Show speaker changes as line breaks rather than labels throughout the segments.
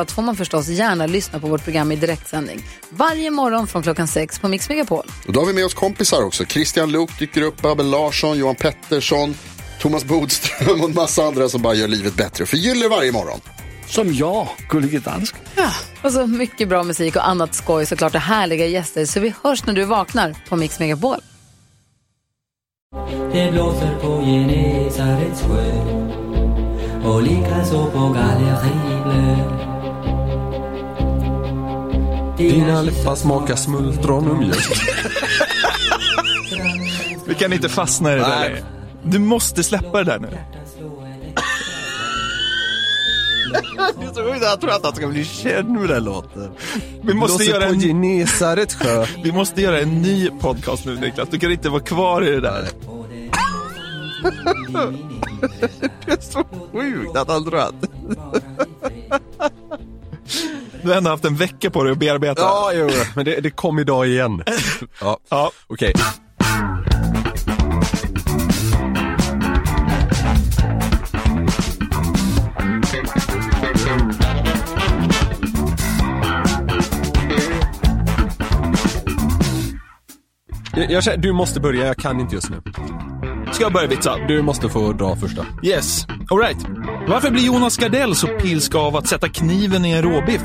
allt får man förstås gärna lyssna på vårt program i direktsändning. Varje morgon från klockan sex på Mix Megapol.
Och då har vi med oss kompisar också. Christian Luuk dyker upp, Abel Larsson, Johan Pettersson, Thomas Bodström och en massa andra som bara gör livet bättre för gillar varje morgon.
Som jag, Gullige Dansken.
Och så mycket bra musik och annat skoj såklart och härliga gäster. Så vi hörs när du vaknar på Mix Megapol.
Det blåser på Genesarets sjö och likaså på Galleri Blö.
Dina läppar smakar smultron och mjölk.
Vi kan inte fastna i det där längre. Du måste släppa det där nu.
Det är så sjukt, jag tror att han ska bli känd med den låten.
Vi måste,
Blåser
göra
på
en,
Genesarets sjö.
vi måste göra en ny podcast nu Niklas. Du kan inte vara kvar i det där.
Sjukt att han tror att...
Du har ändå haft en vecka på dig att bearbeta.
Ja, jo, men det, det kom idag igen. Ja,
Ja.
okej. Jag, jag känner, du måste börja, jag kan inte just nu.
Ska jag börja vitsa?
Du måste få dra första.
Yes. Alright. Varför blir Jonas Gardell så pilsk av att sätta kniven i en råbiff?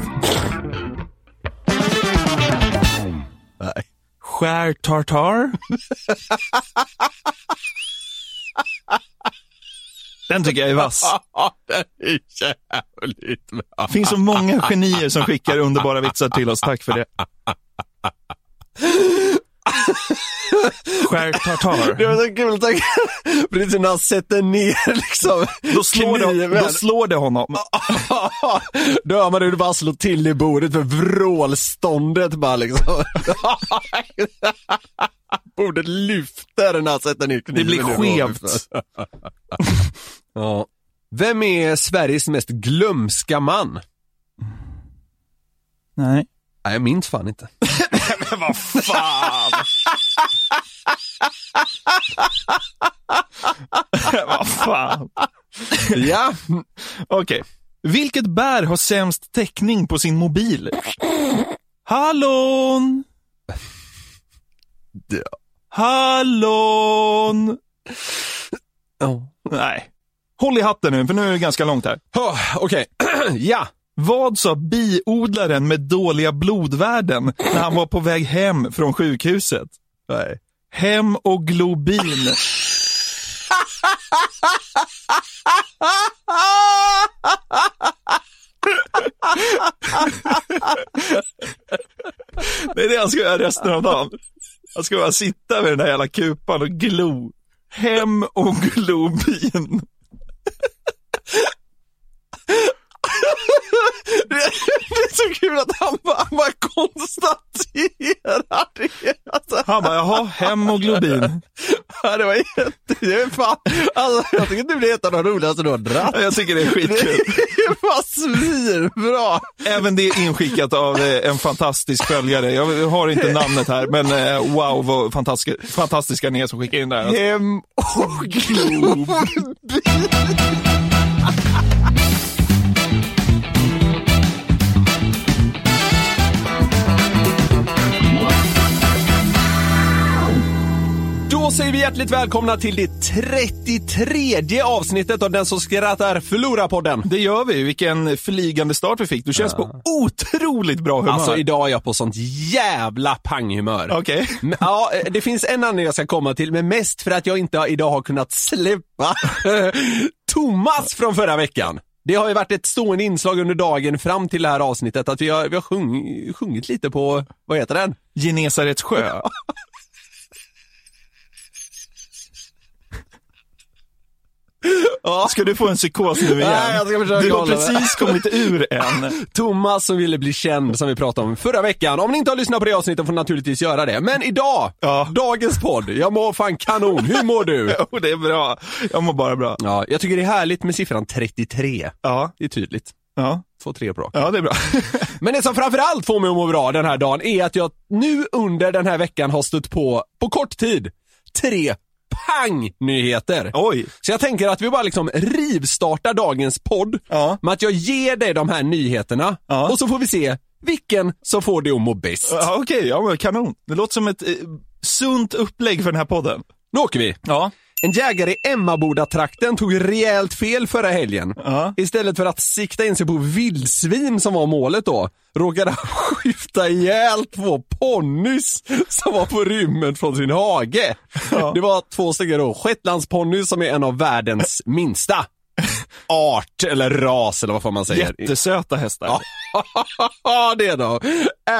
Nej.
Skär tartar? Den tycker jag är vass.
Jävligt bra.
finns så många genier som skickar underbara vitsar till oss. Tack för det. Skär
Det
tartar.
var så kul, tack. Precis när han sätter ner liksom
Då slår, det,
kniven.
då slår det honom.
Då hör man hur det bara slår till i bordet för vrålståndet bara liksom. bordet lyfter när han sätter ner kniven.
Det blir
i bordet.
skevt.
Ja. Vem är Sveriges mest glömska man?
Nej.
Nej, jag minns fan inte.
Men vad fan! vad fan.
ja,
Okej. Vilket bär har sämst täckning på sin mobil? Hallon! Hallon!
Ja.
Nej. Håll i hatten nu, för nu är det ganska långt här.
oh, okej. ja.
Vad sa biodlaren med dåliga blodvärden när han var på väg hem från sjukhuset? Nej. Hem och globin. Det är det jag ska göra resten av dagen. Jag ska bara sitta med den där jävla kupan och glo. Hem och globin.
Det, det är så kul att han bara, han bara konstaterar det. Alltså.
Han bara, jaha, hem och globin.
Ja, det var jätte... Det är fan... Alltså, jag tycker typ det är ett av de roligaste du har dratt.
Jag tycker det är
Det
skitkul.
är fan svinbra!
Även det är inskickat av eh, en fantastisk följare. Jag har inte namnet här, men eh, wow vad fantastiska, fantastiska ni är som skickar in det här.
Hem Ehm, och glob. Då säger vi hjärtligt välkomna till det 33 avsnittet av Den som skrattar förlorar-podden.
Det gör vi. Vilken flygande start vi fick. Du känns på otroligt bra humör.
Alltså idag är jag på sånt jävla panghumör.
Okej.
Men, Ja, eh, det finns en anledning jag ska komma till, men mest för att jag inte har- idag har kunnat släppa Thomas från förra veckan. Det har ju varit ett stående inslag under dagen fram till det här avsnittet att vi har, vi har sjung, sjungit lite på, vad heter den?
Genesarets sjö. Ska du få en psykos nu igen?
Nej, jag ska försöka
du har
hålla mig.
precis kommit ur en.
Thomas som ville bli känd som vi pratade om förra veckan. Om ni inte har lyssnat på det avsnittet får ni naturligtvis göra det. Men idag,
Ja.
dagens podd. Jag mår fan kanon. Hur mår du?
Jo, Oh, det är bra. Jag mår bara bra.
Ja, jag tycker det är härligt med siffran 33.
Ja,
Det är tydligt.
ja,
Två tre på rak.
ja det är bra.
Men det som framförallt får mig att må bra den här dagen är att jag nu under den här veckan har stött på, på kort tid, tre pang-nyheter.
Oj.
Så jag tänker att vi bara liksom rivstartar dagens podd
Ja.
med att jag ger dig de här nyheterna
Ja.
och så får vi se vilken som får dig att må bäst.
Ja, Okej, ja, men kanon. Det låter som ett eh, sunt upplägg för den här podden.
Nu åker vi!
Ja.
En jägare i Emmaboda-trakten tog rejält fel förra helgen.
Ja.
Istället för att sikta in sig på vildsvin som var målet då, råkade han skjuta ihjäl två ponnys som var på rymmen från sin hage. Det var två stycken då, shetlandsponnys som är en av världens minsta art eller ras eller vad får man säga.
Jättesöta hästar.
Ja, det då.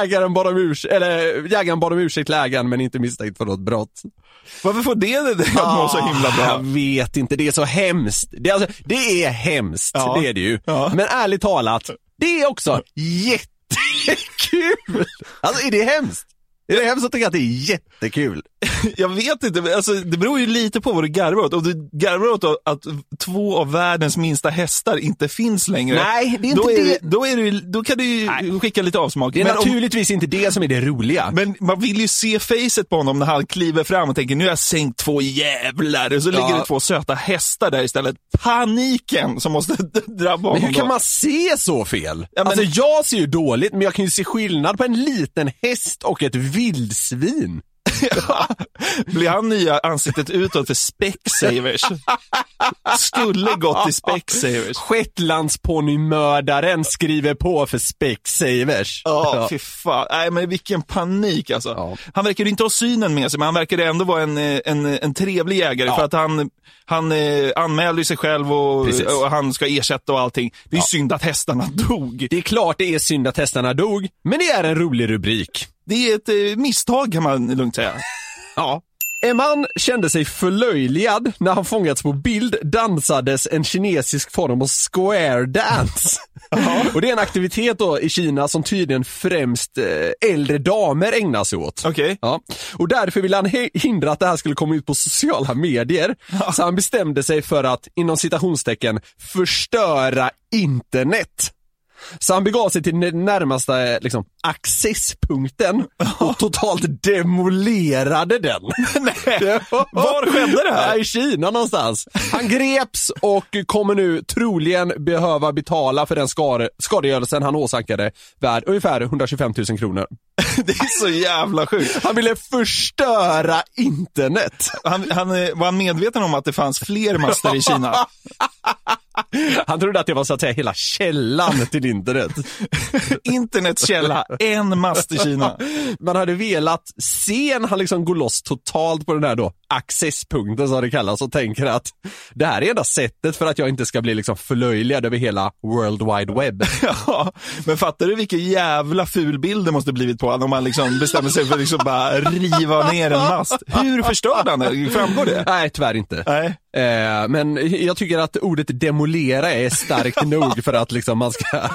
Ägaren bad om urs- eller jägaren bad om ursäkt till ägaren men inte misstänkt för något brott.
Varför får det det dig att må så himla
Ah. Jag
bra?
vet inte, det är så hemskt. Det, är alltså, det är hemskt,
Ja.
det är det ju.
Ja.
Men ärligt talat, det är också jättekul. Alltså är det hemskt? Är det hemskt att tycka att det är jättekul?
Jag vet inte, men alltså, det beror ju lite på vad du garvar åt. Om du garvar åt att- att två av världens minsta hästar inte finns längre.
Nej, det är
då
inte
är
det.
Du, då, är du, då kan du ju skicka lite avsmak.
Det är
Men, om,
naturligtvis inte det som är det roliga.
men man vill ju se facet på honom när han kliver fram och tänker nu har jag sänkt två jävlar. Och så ligger det två söta hästar där istället. Paniken som måste drabba honom.
Men hur
då.
kan man se så fel?
Ja, men-
Alltså jag ser ju dåligt, men jag kan ju se skillnad på en liten häst och ett vildsvin.
Blir han nya ansiktet utåt för Specsavers? Skulle gått till Specsavers.
Shetlandsponnymördaren skriver på för Specsavers.
Ja, fy fan. Nej, men vilken panik alltså.
Ja.
Han verkar ju inte ha synen med sig, men han verkar ändå vara en, eh, en, en trevlig jägare för att han, han eh, anmäler ju sig själv och,
Precis.
och han ska ersätta och allting. Det är synd att hästarna dog.
Det är klart det är synd att hästarna dog, men det är en rolig rubrik.
Det är ett eh, misstag kan man lugnt säga.
Ja. En man kände sig förlöjligad när han fångats på bild dansades en kinesisk form av square dance. Och det är en aktivitet då i Kina som tydligen främst eh, äldre damer ägnar sig åt.
Okej.
Ja. Och därför ville han he- hindra att det här skulle komma ut på sociala medier. Så han bestämde sig för att, inom citationstecken, förstöra internet. Så han begav sig till den närmaste liksom, accesspunkten och totalt demolerade den. Det var-
Var skedde det här?
Ja, I Kina någonstans. Han greps och kommer nu troligen behöva betala för den skade, skadegörelsen han åsamkade värd ungefär 125 000 kronor.
Det är så jävla sjukt.
Han ville förstöra internet.
Han, han, eh, var han medveten om att det fanns fler master i Kina?
Han trodde att det var så att säga hela källan till internet.
Internets källa, en mast i Kina.
Man hade velat se när han liksom går loss totalt på den här då accesspunkten som det kallas och tänker att det här är enda sättet för att jag inte ska bli liksom förlöjligad över hela world wide web.
Ja, men fattar du vilken jävla ful bild det måste blivit på honom om man liksom bestämmer sig för att liksom bara riva ner en mast. Hur förstörde han det? Framgår det?
Nej, tyvärr inte.
Nej.
Eh, men jag tycker att ordet demolera är starkt nog för att liksom man ska,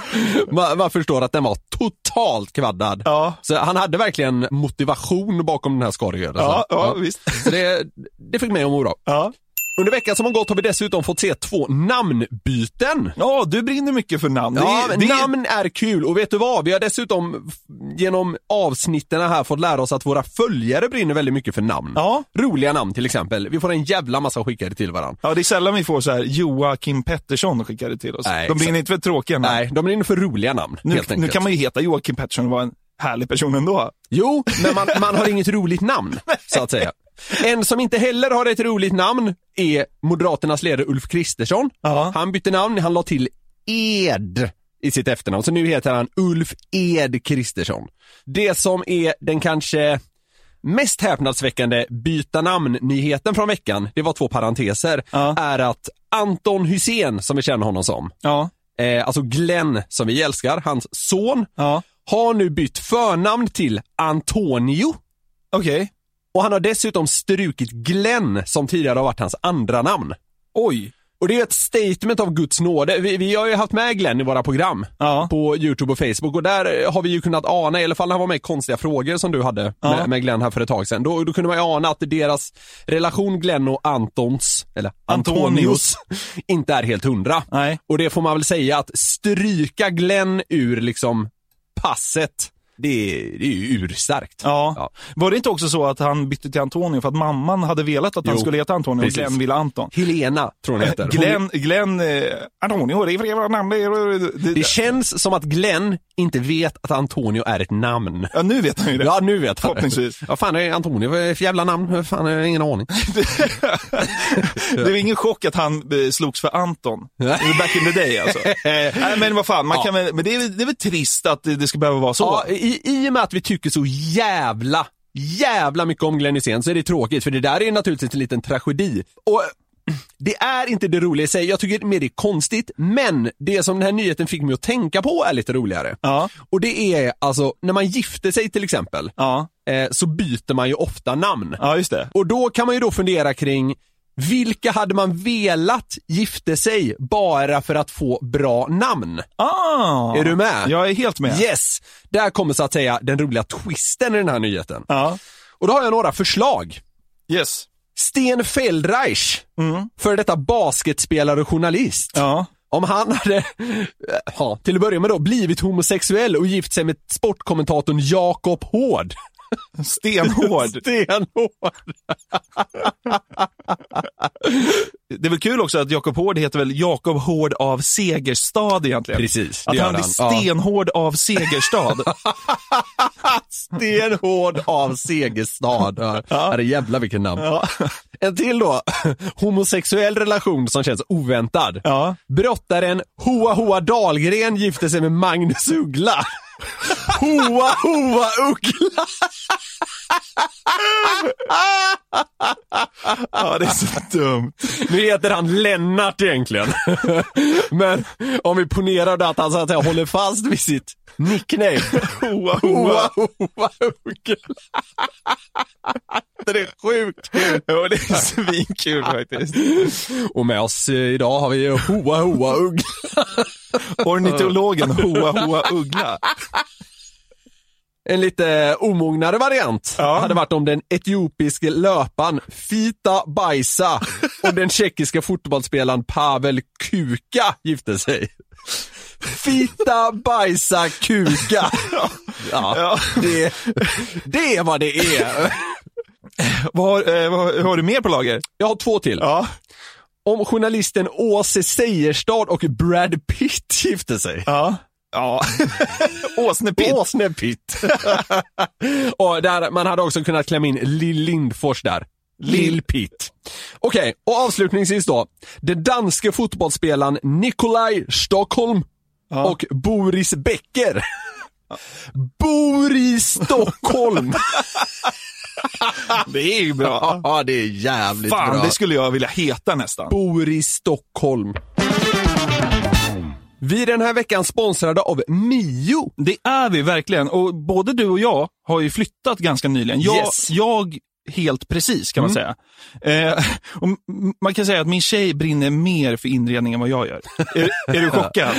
man, man förstår att den var totalt kvaddad.
Ja.
Så han hade verkligen motivation bakom den här skadegörelsen.
Ja, ja, visst.
Så det, det fick mig att må bra.
Ja.
Under veckan som har gått har vi dessutom fått se två namnbyten.
Ja, du brinner mycket för namn.
Ja, men
det,
namn är kul och vet du vad? Vi har dessutom f- genom avsnitten här fått lära oss att våra följare brinner väldigt mycket för namn.
Ja.
Roliga namn till exempel. Vi får en jävla massa skickade till varandra.
Ja, det är sällan vi får så här Joakim Pettersson skickade till oss.
Nej,
De brinner inte för tråkiga namn.
Nej, de brinner för roliga namn
Mm. nu,
helt enkelt.
nu kan man ju heta Joakim Pettersson och vara en härlig person ändå.
Jo, men man, man har inget roligt namn, så att säga. En som inte heller har ett roligt namn är Moderaternas ledare Ulf Kristersson.
Ja.
Han bytte namn, han la till Ed i sitt efternamn, så nu heter han Ulf Ed Kristersson. Det som är den kanske mest häpnadsväckande byta namn-nyheten från veckan, det var två parenteser,
Ja.
är att Anton Hussein, som vi känner honom som,
Ja,
eh, alltså Glenn som vi älskar, hans son,
ja.
har nu bytt förnamn till Antonio
okej.
och han har dessutom strukit Glenn som tidigare har varit hans andra namn.
Oj.
Och det är ju ett statement av Guds nåde. Vi, vi har ju haft med Glenn i våra program
Ja.
på Youtube och Facebook och där eh, har vi ju kunnat ana, i alla fall när han var med i konstiga frågor som du hade
Ja.
med, med Glenn här för ett tag sedan, då, då kunde man ju ana att deras relation Glenn och Antons, eller Antonius,
Antonius.
inte är helt hundra.
Nej.
Och det får man väl säga att stryka Glenn ur liksom passet, det är, det är ju urstarkt.
Ja.
Ja.
Var det inte också så att han bytte till Antonio för att mamman hade velat att han
Jo,
skulle heta Antonio
precis.
och Glenn ville Anton?
Helena tror hon heter. Hon,
Glenn, Glenn, eh, Antonio, det är flera namn. Det, är- det,
det känns som att Glenn inte vet att Antonio är ett namn.
ja, nu vet han ju det.
Ja, nu vet han.
Förhoppningsvis.
Vad fan är Antonio Vad är det för jävla namn? Vad Fan, jag har ingen aning.
det är ju ingen chock att han eh, slogs för Anton. Back in the day alltså. Nej, men vad fan, man kan väl, men det är, väl- det är väl trist att det, det ska behöva vara så.
Ja, i, I och med att vi tycker så jävla, jävla mycket om Glenn Hysén så är det tråkigt för det där är ju naturligtvis en liten tragedi. Och det är inte det roliga i sig, jag tycker mer det är konstigt, men det som den här nyheten fick mig att tänka på är lite roligare.
Ja.
Och det är alltså, när man gifter sig till exempel,
Ja,
eh, så byter man ju ofta namn.
ja just det.
Och då kan man ju då fundera kring vilka hade man velat gifte sig bara för att få bra namn?
Ah,
Är du med?
Jag är helt med.
Yes! Där kommer så att säga den roliga twisten i den här nyheten.
Ja.
Och då har jag några förslag.
Yes.
Sten Feldreich,
Mm.
före detta basketspelare och journalist.
Ja.
Om han hade, ja, till att börja med då, blivit homosexuell och gift sig med sportkommentatorn Jakob Hård.
Stenhård.
Stenhård.
Det är väl kul också att Jakob Hård heter väl Jakob Hård av Segerstad egentligen?
Precis, det
Att
gör
han blir
han. Ja.
stenhård av Segerstad.
Stenhård av Segerstad. Ja. Herre jävla vilken namn.
ja.
En till då. Homosexuell relation som känns oväntad.
Ja.
Brottaren Hoa Hoa Dahlgren gifte sig med Magnus Uggla. Hoa Hoa Uggla.
ja, det är så dumt.
Nu heter han Lennart egentligen. Men om vi ponerar då att han så att säga håller fast vid sitt nickname. Hoa Hoa Hoa Uggla. Det är sjukt kul.
Ja, det är svinkul faktiskt.
Och med oss eh, idag har vi Hoa Hoa Uggla.
Ornitologen Hoa Hoa Uggla.
En lite omognare variant
Ja.
hade varit om den etiopiske löparen Fita Baisa och den tjeckiska fotbollsspelaren Pavel Kuka gifte sig. Fita Baisa Kuka. Ja,
Ja.
det, det är vad det är.
Vad har, eh, vad, har- har du mer på lager?
Jag har två till.
Ja.
Om journalisten Åse Seierstad och Brad Pitt gifte sig.
Ja. Ja. Åsnepitt.
Åsnepitt. och där, man hade också kunnat klämma in Lill Lindfors där. Lill Pitt. Okej, och avslutningsvis då. Den danske fotbollsspelaren Nikolaj Stockholm och Boris Becker. Boris Stockholm!
Det är ju bra.
ja, det är jävligt
Fan,
bra.
det skulle jag vilja heta nästan.
bor i Stockholm. Vi är den här veckan sponsrade av Mio.
Det är vi verkligen. Och både du och jag har ju flyttat ganska nyligen. Jag,
Yes.
jag helt precis kan man säga. Eh, och m- man kan säga att min tjej brinner mer för inredning än vad jag gör. är, är du chockad?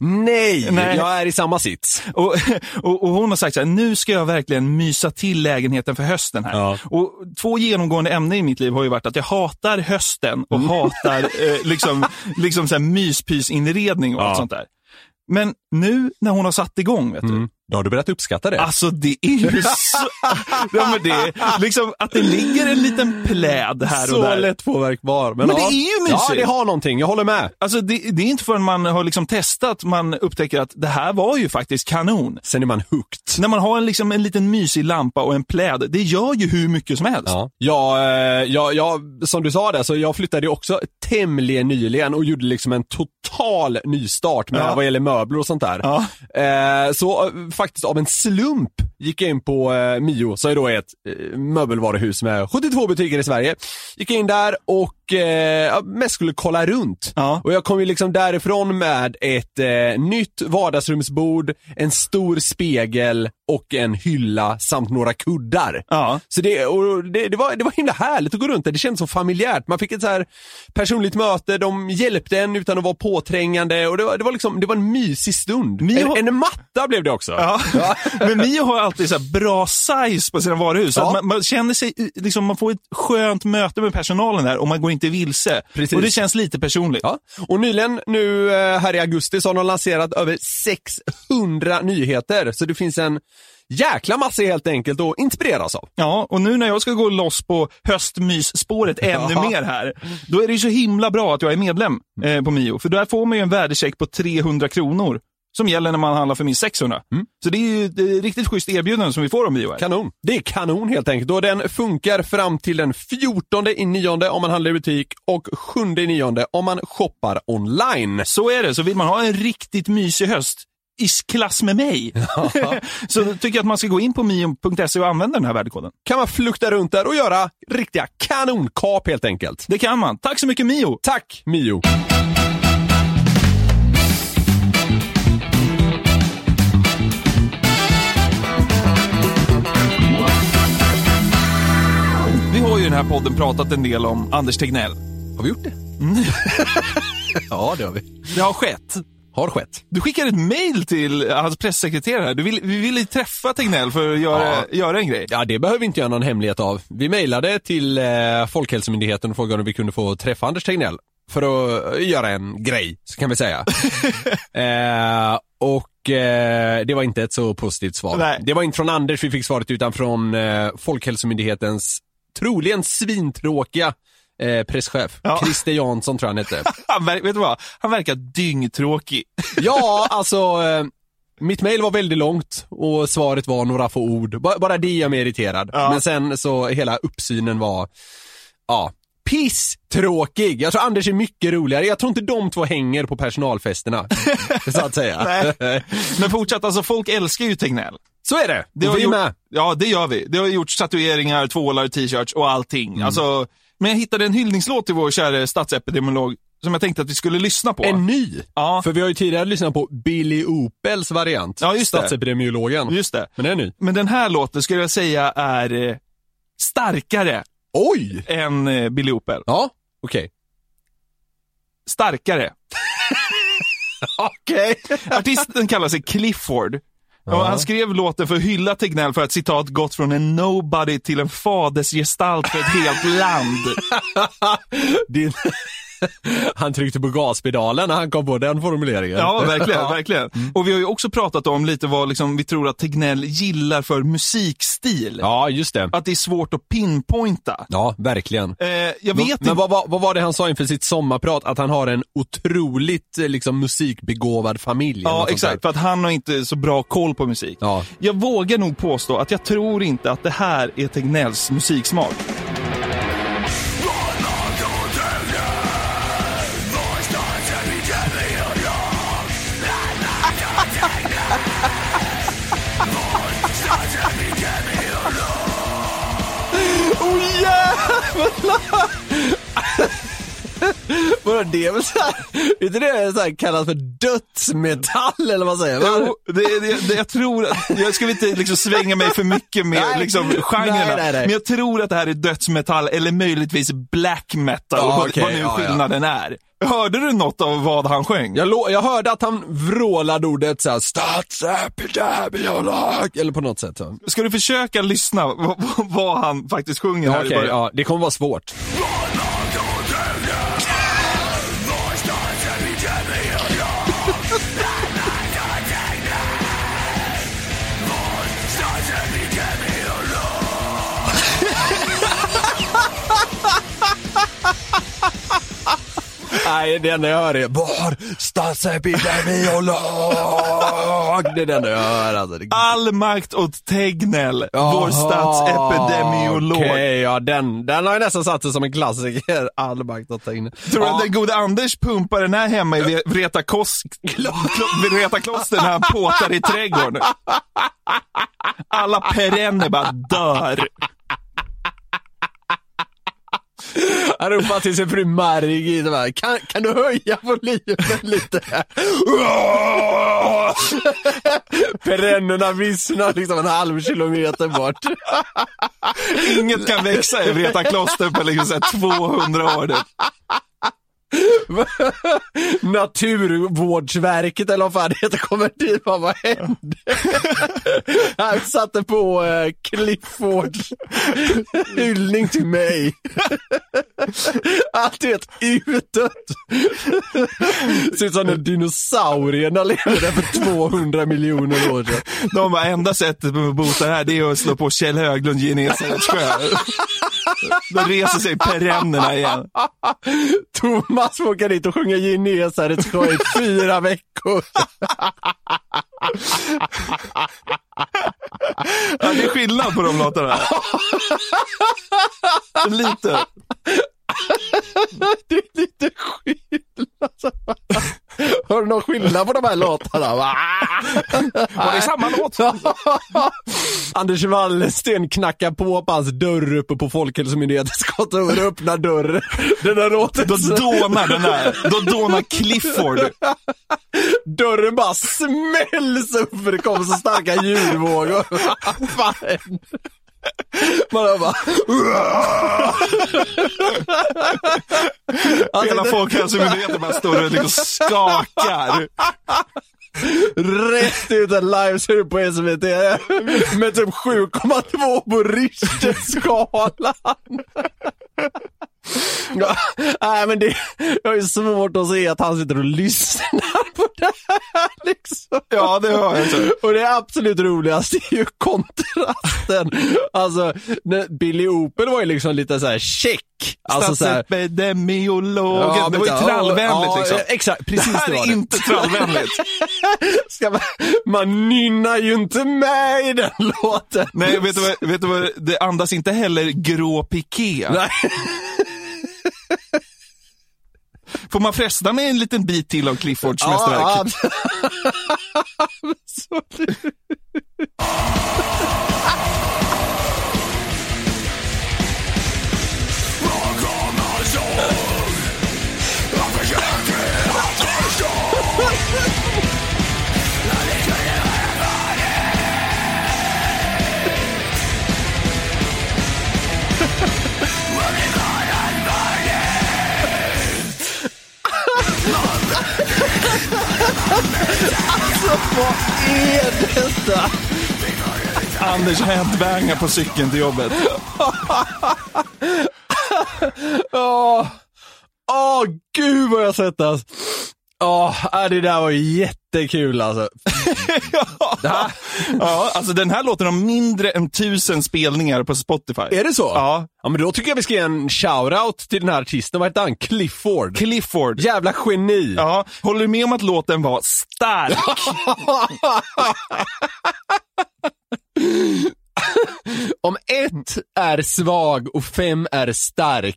Nej,
Nej.
jag är i samma sits.
Och, och, och hon har sagt så här, nu ska jag verkligen mysa till lägenheten för hösten här.
Ja.
Och två genomgående ämnen i mitt liv har ju varit att jag hatar hösten
Mm.
och hatar eh, liksom, liksom så här myspysinredning och
Ja.
allt sånt där. Men nu när hon har satt igång, vet du,
Då har Mm. du börjat uppskatta det.
Alltså det är ju så... ja, men det är, liksom, att det ligger en liten pläd här och
så
där.
lättpåverkbar.
Men det är ju mysigt.
Ja, det har någonting. Jag håller med.
Alltså det, det är inte förrän man har liksom testat man upptäcker att det här var ju faktiskt kanon.
Sen är man hooked.
När man har en, liksom, en liten mysig lampa och en pläd, det gör ju hur mycket som helst.
Ja. Ja, eh, ja, ja, som du sa där, så jag flyttade ju också tämligen nyligen och gjorde liksom en total nystart med
Ja.
vad gäller möbler och sånt där.
Ja.
Eh, så eh, faktiskt av en slump gick jag in på eh, Mio, som är då ett eh, möbelvaruhus med 72 butiker i Sverige. Gick jag in där och och eh, ja, mest skulle kolla runt.
Ja.
Och jag kom ju liksom därifrån med ett eh, nytt vardagsrumsbord, en stor spegel och en hylla samt några kuddar.
Ja.
Så det, och det, det, var, det var himla härligt att gå runt där, det kändes så familjärt. Man fick ett så här personligt möte, de hjälpte en utan att vara påträngande och det var, det var, liksom, det var en mysig stund.
Ni har-
En, en matta blev det också.
Ja. Men Mio har alltid så här bra size på sina varuhus.
Ja.
Att man, man känner sig, liksom, man får ett skönt möte med personalen där och man går inte vilse.
Precis.
Och det känns lite personligt.
Ja. Och nyligen nu eh, här i augusti så har de lanserat över 600 nyheter. Så det finns en jäkla massa helt enkelt att inspireras av.
Ja, och nu när jag ska gå loss på höstmysspåret ännu
Ja.
mer här, då är det ju så himla bra att jag är medlem
Mm.
eh, på Mio. För där får man ju en värdecheck på 300 kronor som gäller när man handlar för minst 600.
Mm.
Så det är ju ett eh, riktigt schysst erbjudande som vi får av Mio. Här.
Kanon. Det är kanon helt enkelt och den funkar fram till den 14 i nionde om man handlar i butik och 7 i nionde om man shoppar online.
Så är det, så vill man ha en riktigt mysig höst i klass med mig, så tycker jag att man ska gå in på mio.se och använda den här värdekoden.
Kan man flukta runt där och göra riktiga kanonkap helt enkelt.
Det kan man. Tack så mycket Mio!
Tack Mio!
Vi har ju i den här podden pratat en del om Anders Tegnell.
Har vi gjort det? ja, det har vi.
Mm. Det har skett.
Har skett.
Du skickade ett mejl till hans pressekreterare. här. Du vill, vi ville träffa Tegnell för att göra,
Ja.
göra en grej.
Ja, det behöver vi inte göra någon hemlighet av. Vi mejlade till eh, Folkhälsomyndigheten och frågade om vi kunde få träffa Anders Tegnell för att eh, göra en grej, så kan vi säga. eh, och eh, det var inte ett så positivt svar.
Nej.
Det var inte från Anders vi fick svaret utan från eh, Folkhälsomyndighetens troligen svintråkiga eh, presschef.
Ja.
Christer Jansson tror jag han hette.
Han, ver- vet du vad? Han verkar dyngtråkig.
Ja, alltså. Eh, mitt mejl var väldigt långt och svaret var några få ord. Ba- bara det gör mig irriterad.
Ja.
Men sen så hela uppsynen var, ja, pisstråkig. Jag tror Anders är mycket roligare. Jag tror inte de två hänger på personalfesterna. så att säga.
Nej. Men fortsätt, alltså folk älskar ju Tegnell.
Så är det.
Det
det
har
vi
gjort-
med.
Ja, det gör vi. Det har gjort statueringar, tvålar, t-shirts och allting.
Mm.
Alltså, men jag hittade en hyllningslåt till vår kära statsepidemiolog som jag tänkte att vi skulle lyssna på.
En ny.
Ja.
För vi har ju tidigare lyssnat på Billy Opels variant.
Ja, just det.
Statsepidemiologen.
Just det.
Men den är ny.
Men den här låten skulle jag säga är eh, starkare
Oj!
än eh, Billy Opel.
Ja, okej.
Starkare.
Okej.
Artisten kallar sig Clifford. Och han skrev låten för att hylla Tegnell för att citat gått från en nobody till en fadersgestalt för ett helt land.
Din... Han tryckte på gaspedalen när han kom på den formuleringen.
Ja, verkligen. verkligen.
Mm.
Och vi har ju också pratat om lite vad liksom vi tror att Tegnell gillar för musikstil.
Ja, just det.
Att det är svårt att pinpointa.
Ja, verkligen.
Eh, jag vet inte.
Men vad, vad, vad var det han sa inför sitt sommarprat? Att han har en otroligt eh, liksom, musikbegåvad familj? eller
Ja,
något sånt
exakt.
där.
För att han har inte så bra koll på musik.
Ja.
Jag vågar nog påstå att jag tror inte att det här är Tegnells musiksmak.
Åh jävlar! Vadå, det är väl såhär, är inte det så här kallat för dödsmetall eller vad säger man?
Jo, det, det, det, jag tror att, jag ska väl inte liksom svänga mig för mycket med
Nej.
liksom, genrerna,
Nej, nej, nej.
men jag tror att det här är dödsmetall eller möjligtvis black metal,
Ja,
vad,
okej,
vad nu
ja, ja.
skillnaden är. Hörde du något av vad han sjöng?
Jag, lo- jag hörde att han vrålade ordet såhär, äh, statsepidemiolog, äh, eller på något sätt. Så.
Ska du försöka lyssna vad, vad- vad han faktiskt sjunger här
Ja,
i
Okej,
början?
ja, det kommer vara svårt. Nej, det enda jag hör är Var statsepidemiolog? Det är det enda jag hör alltså. Det-
All makt åt Tegnell, vår
Jaha,
statsepidemiolog.
Okej, ja den, den har ju nästan satt sig som en klassiker. All makt åt Tegnell.
Tror du
ja.
att den gode Anders pumpar den här hemma i Ve- Vreta, kos- Klo- Vreta kloster när han påtar i trädgården? Alla perenner bara dör.
Han ropar till sin fru Marig i det här. Kan, kan du höja volymen lite? Perennerna vissnar liksom en halv kilometer bort.
Inget kan växa i Vreta kloster på liksom så här 200 år. typ.
Naturvårdsverket eller vad fan det heter kommer dit. Bara, vad hände? Han satte på eh, Cliffords hyllning till mig. Allt är helt utdött. Ser ut som när dinosaurierna levde där för 200 miljoner år sedan.
De bara, enda sättet att bota det här det är att slå på Kjell Höglund Genesarets sjö. Då reser sig perennerna igen.
Thomas får åka dit och sjunga Genesarets sjö i fyra veckor.
Ja, det är skillnad på de låtarna. Lite.
Det är lite skillnad. Har du någon skillnad på de här låtarna? Va?
Var det samma låt?
Anders Wallensten knackar på på hans dörr uppe på Folkhälsomyndighetens kontor och öppnar dörren. Den har låtit
Då dånar den där. Då dånar Clifford.
Dörren bara smälls upp för det kommer så starka ljudvågor. Vad fan händer? Man hör bara...
Hela Folkhälsomyndigheten bara står och liksom skakar.
Rätt ut en livesur på SVT med typ 7,2 på Richterskalan. Ja, nej men det, jag har ju svårt att se att han sitter och lyssnar på det här liksom.
Ja, det hör jag. inte.
Och det absolut roligaste är ju kontrasten. Alltså, när Billy Opel var ju liksom lite så här check. Alltså så här,
Statsepidemiologen. det var ju
men så här,
trallvänligt
ja,
liksom.
ja, Exakt, precis
det här
det var
är
det.
inte trallvänligt.
Ska man, man nynnar ju inte med i den låten.
Nej, vet du, vad, vet du vad, det andas inte heller grå piké.
Nej.
Får man fresta med en liten bit till av Cliffords mästerverk?
Ja, ja.
Anders headbangar på cykeln till jobbet.
Åh, åh, gud vad jag svettas. Åh, äh, det där var ju jättekul alltså.
Ja, alltså den här låten har mindre än tusen spelningar på Spotify.
Är det så?
Ja.
Ja, men då tycker jag vi ska ge en shoutout till den här artisten. Vad hette han? Clifford.
Clifford.
Jävla geni.
Ja, håller du med om att låten var stark?
Om ett är svag och fem är stark.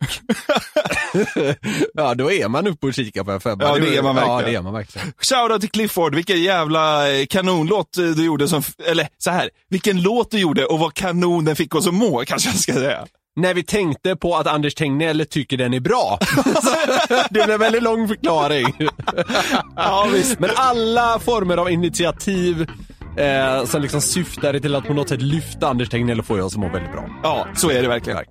ja, då är man uppe och kikar på en femma.
Ja, det är man verkligen.
Ja, det är man verkligen.
Shoutout till Clifford, vilken jävla eh, kanonlåt eh, du gjorde som, eller så här, vilken låt du gjorde och vad kanon den fick oss att må, kanske jag ska säga.
När vi tänkte på att Anders Tegnell tycker den är bra. Så, det blev en väldigt lång förklaring. ja, visst. Men alla former av initiativ eh, som liksom syftade till att på något sätt lyfta Anders Tegnell får jag som mår väldigt bra.
Ja, så är det verkligen.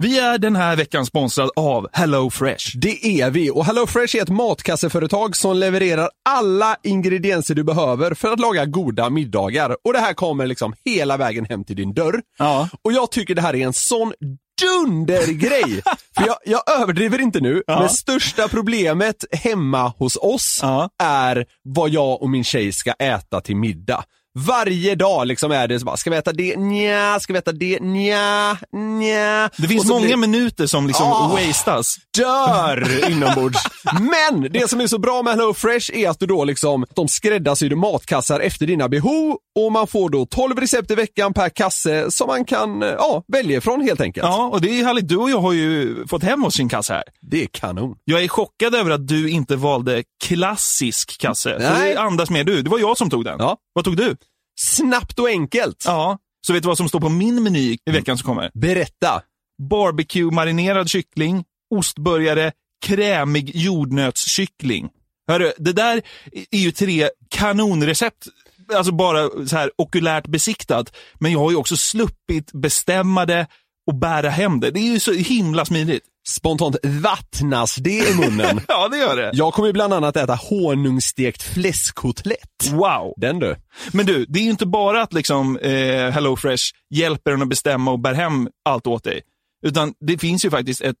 Vi är den här veckan sponsrad av Hello Fresh.
Det är vi och HelloFresh är ett matkasseföretag som levererar alla ingredienser du behöver för att laga goda middagar. Och det här kommer liksom hela vägen hem till din dörr.
Ja.
Och jag tycker det här är en sån dundergrej! för jag, jag överdriver inte nu, men största problemet hemma hos oss
Ja.
är vad jag och min tjej ska äta till middag. Varje dag liksom är det så bara, ska vi äta det? Nja, ska vi äta det? Nja, nja.
Det finns
Och så
många
blir-
minuter som liksom
Ah.
wastas.
dör inombords. Men det som är så bra med HelloFresh är att du då liksom, de skräddarsydde matkassar efter dina behov och man får då 12 recept i veckan per kasse som man kan ja, välja ifrån helt enkelt.
Ja, och det är härligt. Du och jag har ju fått hem oss sin kasse här.
Det är kanon.
Jag är chockad över att du inte valde klassisk kasse. För
Nej.
Det andas mer du. Det var jag som tog den.
Ja.
Vad tog du?
Snabbt och enkelt.
Ja. Så vet du vad som står på min meny i veckan som kommer?
Berätta.
barbecue-marinerad kyckling, ostburgare, krämig jordnötskyckling. Hörru, det där är ju tre kanonrecept, alltså bara så här okulärt besiktat. Men jag har ju också sluppit bestämma det och bära hem det. Det är ju så himla smidigt.
Spontant vattnas det i munnen.
Ja, det gör det.
Jag kommer ju bland annat äta honungsstekt fläskkotlett.
Wow.
Den du.
Men du, det är ju inte bara att liksom, eh, HelloFresh hjälper en att bestämma och bär hem allt åt dig. Utan det finns ju faktiskt ett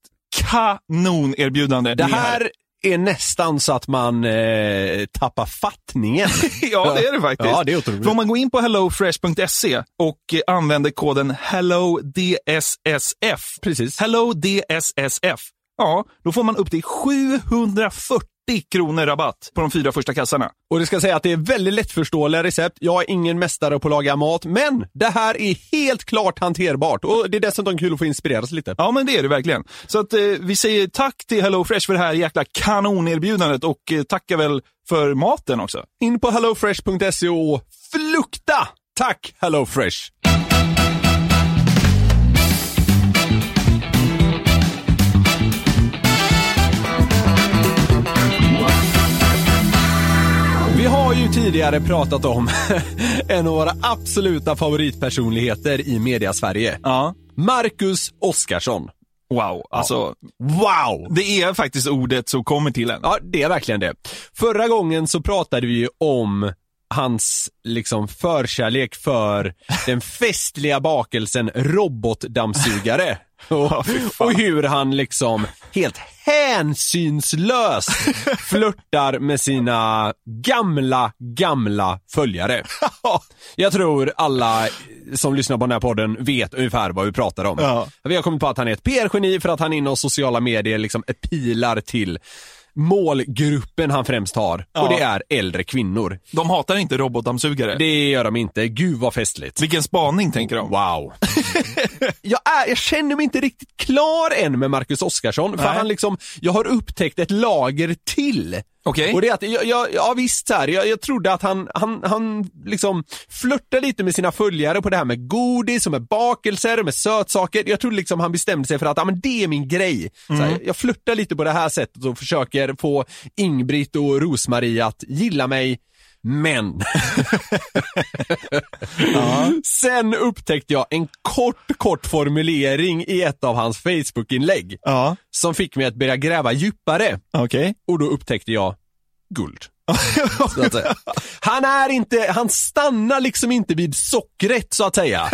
kanonerbjudande.
Det
med
här är nästan så att man eh, tappar fattningen.
Ja, det är det faktiskt.
Ja, det är otroligt.
För om man går in på hellofresh.se och eh, använder koden hellodssf.
Precis.
Hellodssf. Ja, då får man upp till 740 kronor rabatt på de fyra första kassarna.
Och det ska säga att det är väldigt lättförståeliga recept. Jag är ingen mästare på att laga mat, men det här är helt klart hanterbart. Och det är dessutom kul att få inspireras lite.
Ja, men det är det verkligen. Så att eh, vi säger tack till HelloFresh för det här jäkla kanonerbjudandet och eh, tackar väl för maten också.
In på hellofresh.se E och flukta! Tack HelloFresh! Vi har ju tidigare pratat om en av våra absoluta favoritpersonligheter i media-Sverige.
Ja.
Marcus Oskarsson.
Wow, alltså.
Wow!
Det är faktiskt ordet som kommer till en.
Ja, det är verkligen det. Förra gången så pratade vi ju om hans liksom förkärlek för den festliga bakelsen robotdammsugare. Och, och hur han liksom helt hänsynslöst flörtar med sina gamla, gamla följare. Jag tror alla som lyssnar på den här podden vet ungefär vad vi pratar om.
Ja.
Vi har kommit på att han är ett PR-geni för att han inom sociala medier liksom pilar till målgruppen han främst har. Och det är äldre kvinnor.
De hatar inte robotdammsugare.
Det gör de inte. Gud vad festligt.
Vilken spaning tänker de?
Wow. jag, är, jag känner mig inte riktigt klar än med Marcus Oskarsson, för
Nej.
han liksom, jag har upptäckt ett lager till.
Okej.
Och det är att, jag, jag, ja visst så här, jag, jag trodde att han, han, han liksom flörtade lite med sina följare på det här med godis och med bakelser och med sötsaker. Jag trodde liksom han bestämde sig för att, ja men det är min grej. Så här, jag flörtar lite på det här sättet och försöker få Ingrid och Rosmarie att gilla mig, men Sen upptäckte jag en kort, kort formulering i ett av hans Facebook-inlägg
Ja,
som fick mig att börja gräva djupare
okej.
och då upptäckte jag guld. Så att säga. Han är inte, han stannar liksom inte vid sockret så att säga.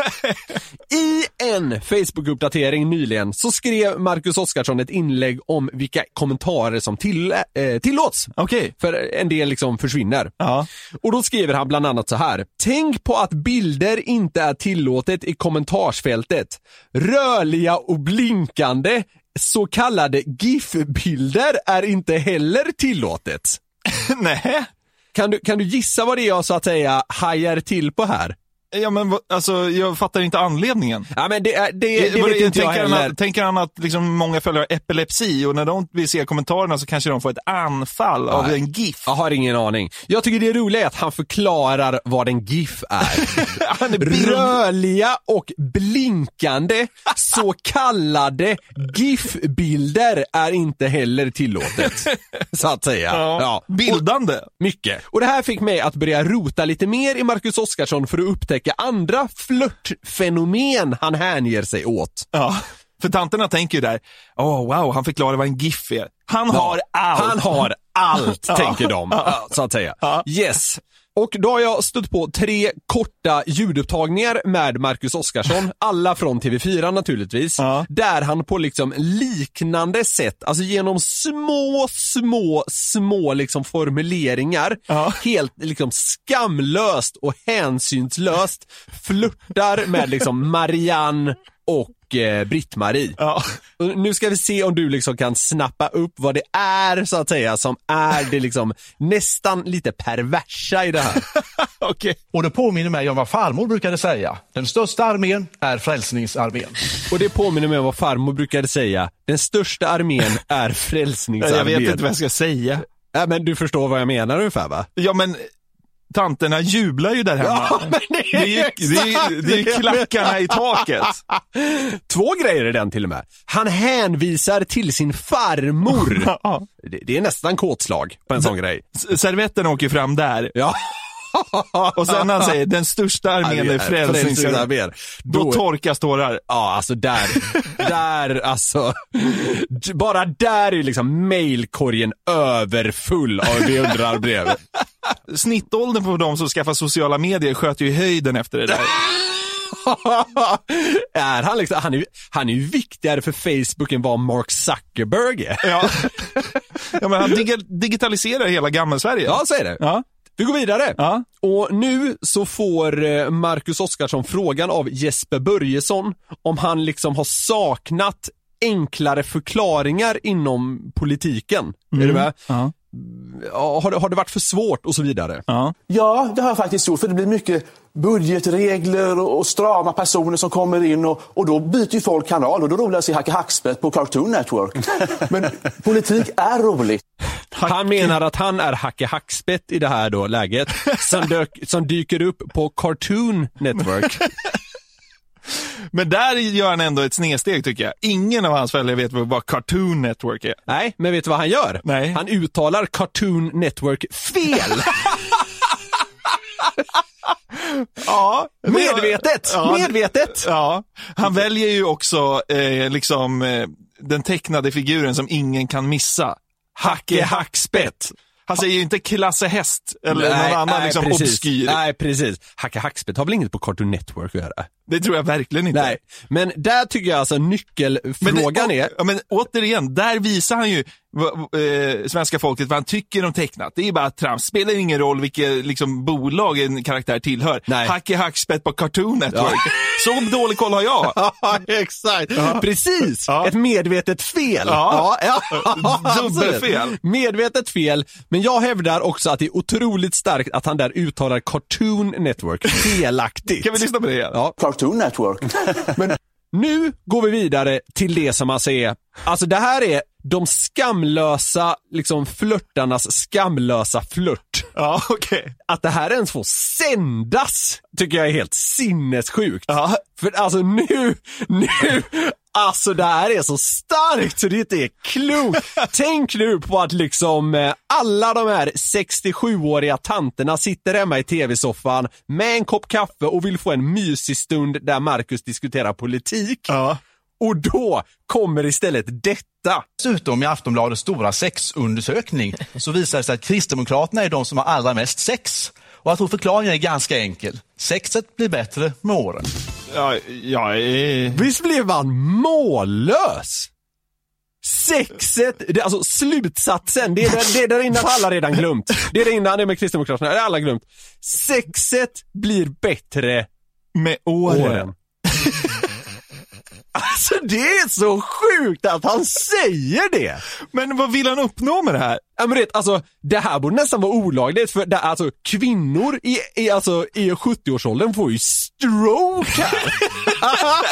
I en Facebook-uppdatering nyligen så skrev Marcus Oskarsson ett inlägg om vilka kommentarer som till, eh, tillåts.
Okej.
För en del liksom försvinner.
Ja.
Och då skriver han bland annat så här. Tänk på att bilder inte är tillåtet i kommentarsfältet. Rörliga och blinkande så kallade GIF-bilder är inte heller tillåtet.
Nej.
Kan du, kan du gissa vad det är jag så att säga hajar till på här?
Ja, men vad- alltså, jag fattar inte anledningen. Eh,
Ja men det, är- det, det
Vad-
vet inte jag
tänker, han
heller.
att, tänker han att liksom många följare har epilepsi och när de vill se kommentarerna så kanske de får ett anfall av
Nej.
en GIF?
Jag har ingen aning. Jag tycker det roliga är att han förklarar vad en GIF är.
Han är bild-
Rörliga och blinkande så kallade GIF-bilder är inte heller tillåtet. Så att säga.
Ja.
Ja.
Bildande.
Mycket. Och det här fick mig att börja rota lite mer i Marcus Oskarsson för att upptäcka andra flörtfenomen han hänger sig åt.
Ja. För tanterna tänker ju där, åh wow, han förklarar vad en GIF är. Han har allt.
Han har allt,
Ja.
tänker de, så att säga. Yes. Och då har jag stött på tre korta ljudupptagningar med Marcus Oskarsson, alla från TV4 naturligtvis,
Ja.
där han på liksom liknande sätt, alltså genom små, små, små liksom formuleringar,
Ja.
helt liksom skamlöst och hänsynslöst flörtar med liksom Marianne och eh, Britt-Marie.
Ja.
Och Nu ska vi se om du liksom kan snappa upp vad det är så att säga som är det liksom nästan lite perversa i det här.
Okej.
Och det påminner mig om vad farmor brukade säga. Den största armén är frälsningsarmén.
Och det påminner mig om vad farmor brukade säga. Den största armén är
Jag
frälsningsarmén.
vet inte vad jag ska säga.
Ja, men du förstår vad jag menar ungefär va?
Ja, men tanterna jublar ju där hemma.
men det är
det, är ju, det, är, det är ju
exakt det.
klackarna i taket.
Två grejer i den till och med. Han hänvisar till sin farmor.
Ja.
det, det är nästan kåtslag på en sån grej.
S- Servetten åker fram där.
Ja.
Och sen han säger den största armén är frälsningsarmén.
Frälsningsarmén.
Då
Då
torkas tårar.
Ja, alltså där, där alltså. d- Bara där är liksom mailkorgen överfull av beundrarbrev.
Snittåldern på de som skaffar sociala medier sköt ju i höjden efter det där.
är han liksom, han är ju han är ju viktigare för Facebook än vad Mark Zuckerberg är.
Ja. ja, men han dig- digitaliserar hela gammelsverige.
Ja, så är det.
Ja.
Vi går vidare.
Ja.
Och nu så får eh, Marcus Oskarsson frågan av Jesper Börjesson om han liksom har saknat enklare förklaringar inom politiken. Är du med?
Mm. Ja.
Ja, har, det- har det varit för svårt och så vidare?
Ja.
Ja, det har jag faktiskt gjort. För det blir mycket budgetregler och och strama personer som kommer in och, och då byter ju folk kanal och då är det roligt att se Hacke Hackspett på Cartoon Network. Men politik är roligt.
Han menar att han är Hacke Hackspett i det här då läget, som, dök, som dyker upp på Cartoon Network.
Men där gör han ändå ett snedsteg tycker jag. Ingen av hans följare vet vad Cartoon Network är.
Nej, men vet du vad han gör?
Nej.
Han uttalar Cartoon Network fel!
Ja,
Medvetet!
Ja, det-
Medvetet!
Ja, han väljer ju också eh, liksom eh, den tecknade figuren som ingen kan missa. Hacke Hackspett. Han säger ju inte Klasse Häst eller någon annan liksom
precis.
obskyr.
Nej, precis. Hacke Hackspett har väl inget på Cartoon Network att göra?
Det tror jag verkligen inte.
Nej, men där tycker jag alltså
Men det-
nyckelfrågan är...
Ja, men återigen, där visar han ju vad- eh, svenska folket vad han tycker om tecknat. Det är bara trams. Spelar ingen roll vilket liksom, bolag en karaktär tillhör.
Nej.
Hacke hackspett på Cartoon Network. Så dålig koll har jag.
Ja, exakt. Precis.
Ja.
Ett medvetet fel.
Ja.
ja.
Dubbelfel.
Medvetet fel. Men jag hävdar också att det är otroligt starkt att han där uttalar Cartoon Network felaktigt.
Kan vi lyssna på det igen?
Ja.
Cartoon Network. Men
Nu går vi vidare till det som alltså är, alltså det här är de skamlösa, liksom flörtarnas skamlösa flört.
Ja, okej.
Att det här ens får sändas tycker jag är helt sinnessjukt.
Ja.
För alltså nu, nu, alltså det här är så starkt så det inte är klokt. Tänk nu på att liksom eh, alla de här 67-åriga tanterna sitter hemma i tv-soffan med en kopp kaffe och vill få en mysig stund där Marcus diskuterar politik.
Ja.
Och då kommer istället detta.
Dessutom i Aftonbladets stora sexundersökning så visar det sig att Kristdemokraterna är de som har allra mest sex. Och jag tror förklaringen är ganska enkel. Sexet blir bättre med åren.
Ja, ja, eh,
Visst blev han mållös? Sexet, det, alltså slutsatsen, det är, där, det är där innan alla redan glömt. Det är där innan, det är med Kristdemokraterna, det har alla glömt. Sexet blir bättre
med åren.
åren. Alltså det är så sjukt att han säger det!
Men vad vill han uppnå med det här?
Ja men det, alltså, det här borde nästan vara olagligt för det, alltså, kvinnor i, i, alltså, i 70-årsåldern får ju stroke här.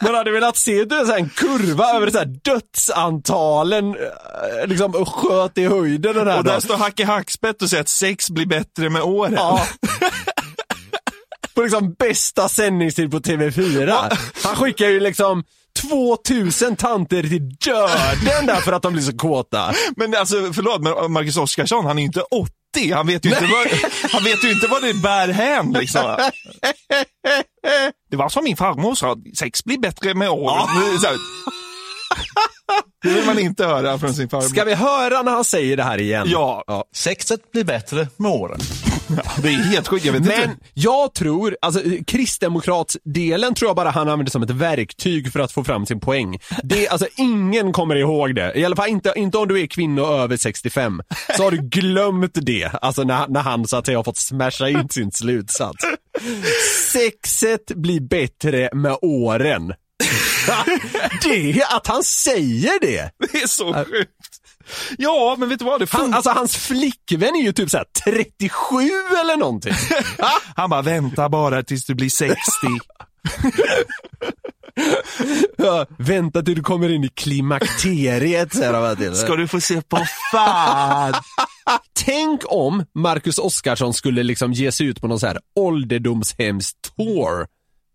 Man hade velat se du, vet, så här, en kurva över så här, dödsantalen, eh, liksom sköt i höjden den här
Och där
dagen.
står Hacke Hackspett och säger att sex blir bättre med åren.
Ja. På liksom bästa sändningstid på TV4. Han skickar ju liksom 2000 tanter till döden där för att de blir så kåta.
Men alltså, förlåt, men Marcus Oskarsson, han är ju inte 80. Han vet ju inte vad, han vet ju inte vad det bär hän liksom. Det var som min farmor sa, sex blir bättre med åren. Så här. Det vill man inte höra från sin farmor.
Ska vi höra när han säger det här igen?
Ja.
Sexet blir bättre med åren.
Det är helt sjukt, jag vet
Men
inte.
jag tror, alltså eh, kristdemokratsdelen tror jag bara han använder som ett verktyg för att få fram sin poäng. Det, alltså ingen kommer ihåg det. I alla fall inte, inte om du är kvinna över 65. Så har du glömt det, alltså när, när han så att säga har fått smasha in sin slutsats. Sexet blir bättre med åren. det, att han säger det!
Det är så sjukt. Ja, men vet du vad? Det
Han,
funkar.
alltså hans flickvän är ju typ såhär 37 eller någonting.
Han bara, vänta bara tills du blir 60.
Ja, vänta till du kommer in i klimakteriet, säger de här till.
Ska du få se på fan.
Tänk om Marcus Oskarsson skulle liksom ge sig ut på någon så här ålderdomshemstour.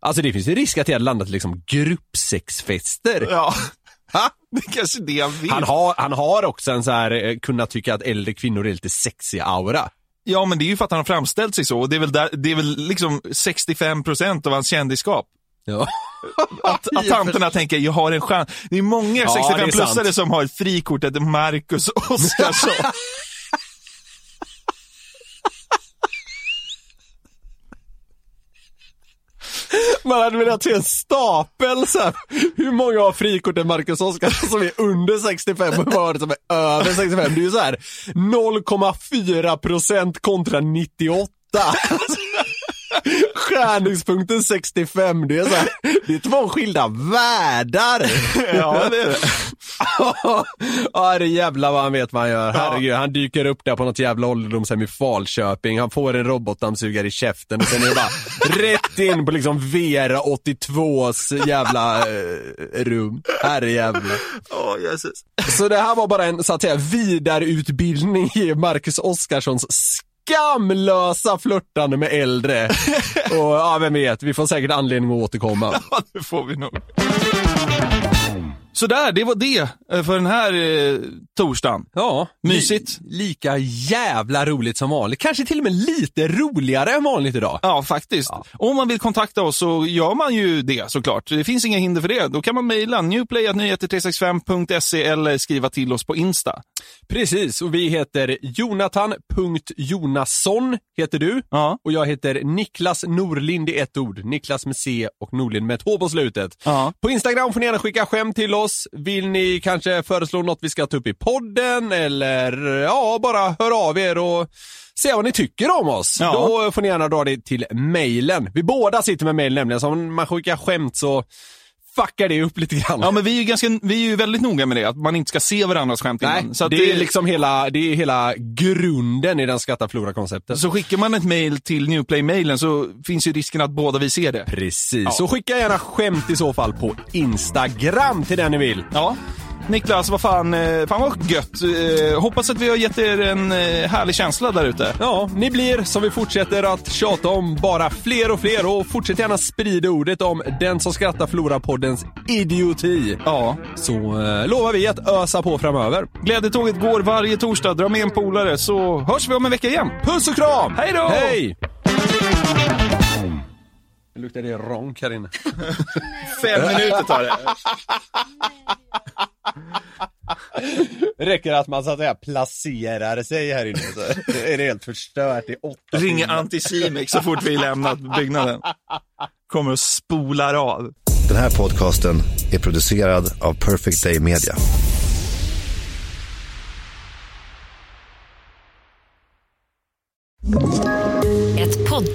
Alltså det finns ju risk att det hade landat liksom gruppsexfester.
Ja, Ha, det är kanske det han vill.
Han har, han har också en så här eh, kunna tycka att äldre kvinnor är lite sexiga aura.
Ja, men det är ju för att han har framställt sig så. Och det är väl, där, det är väl liksom 65 procent av hans kändisskap.
Ja.
Att, att tanterna tänker, jag har en chans. Det är många
det är
65-plussare
sant.
som har ett frikort att Marcus Oskarsson.
Man hade velat se en stapel så här. Hur många har frikort än Marcus Oskarsson som är under 65 och hur många har det som är över 65? Det är ju så här 0,4 procent kontra 98. Alltså, Skärningspunkten 65, det är så här, det är två skilda världar.
ja, det är det.
Ja, det är jävla vad han vet vad han gör. Herregud, han dyker upp där på något jävla ålderdomshem i Falköping. Han får en robotdammsugare i käften och sen är det bara rätt in på liksom Vera 82s jävla eh, rum. Herrejävlar.
Åh, Jesus.
Så det här var bara en så att säga vidareutbildning i Marcus Oskarssons skamlösa flörtande med äldre. Och ja, vem vet, vi får säkert anledning att återkomma.
Ja, det får vi nog. Sådär, det var det eh, för den här eh, torsdagen.
Ja,
Mysigt.
Li lika jävla roligt som vanligt. Kanske till och med lite roligare än vanligt idag.
Ja, faktiskt. Om man vill kontakta oss så gör man ju det såklart. Det finns inga hinder för det. Då kan man mejla newplay.nyheter365.se eller skriva till oss på Insta.
Precis, och vi heter Jonathan.Jonasson heter du.
Ja.
Och jag heter Niklas Norlind i ett ord. Niklas med C och Norlind med ett H på slutet.
Ja.
På Instagram får ni gärna skicka skämt till oss. Vill ni kanske föreslå något vi ska ta upp i podden eller ja, bara hör av er och se vad ni tycker om oss.
Ja.
Då får ni gärna dra det till mejlen. Vi båda sitter med mejl nämligen, så om man skickar skämt så fuckar det upp lite grann.
Ja, men vi är, ju ganska, vi är ju väldigt noga med det, att man inte ska se varandras skämt
Nej,
innan. Så, att
det, är liksom hela, det är hela grunden i den skratta konceptet
så skickar man ett mejl till Newplay-mejlen så finns ju risken att båda vi ser det.
Precis, så skicka gärna skämt i så fall på Instagram till den ni vill.
Ja. Niklas, vad fan, eh, fan vad gött. Eh, Hoppas att vi har gett er en eh, härlig känsla där ute.
Ja, ni blir, som vi fortsätter att tjata om, bara fler och fler och fortsätt gärna sprida ordet om Den som skrattar förlorar poddens idioti.
Ja.
Så eh, lovar vi att ösa på framöver.
Glädjetåget går varje torsdag. Dra med en polare så hörs vi om en vecka igen.
Puss och kram!
Hej då!
Hej! Nu luktar det ronk här inne.
Fem
Eh.
minuter tar det.
Räcker att man så att säga placerar sig här inne så är det helt förstört i åtta
Ringer Anticimex så fort vi lämnat byggnaden. Kommer och spolar av.
Den här podcasten är producerad av Perfect Day Media.
Ett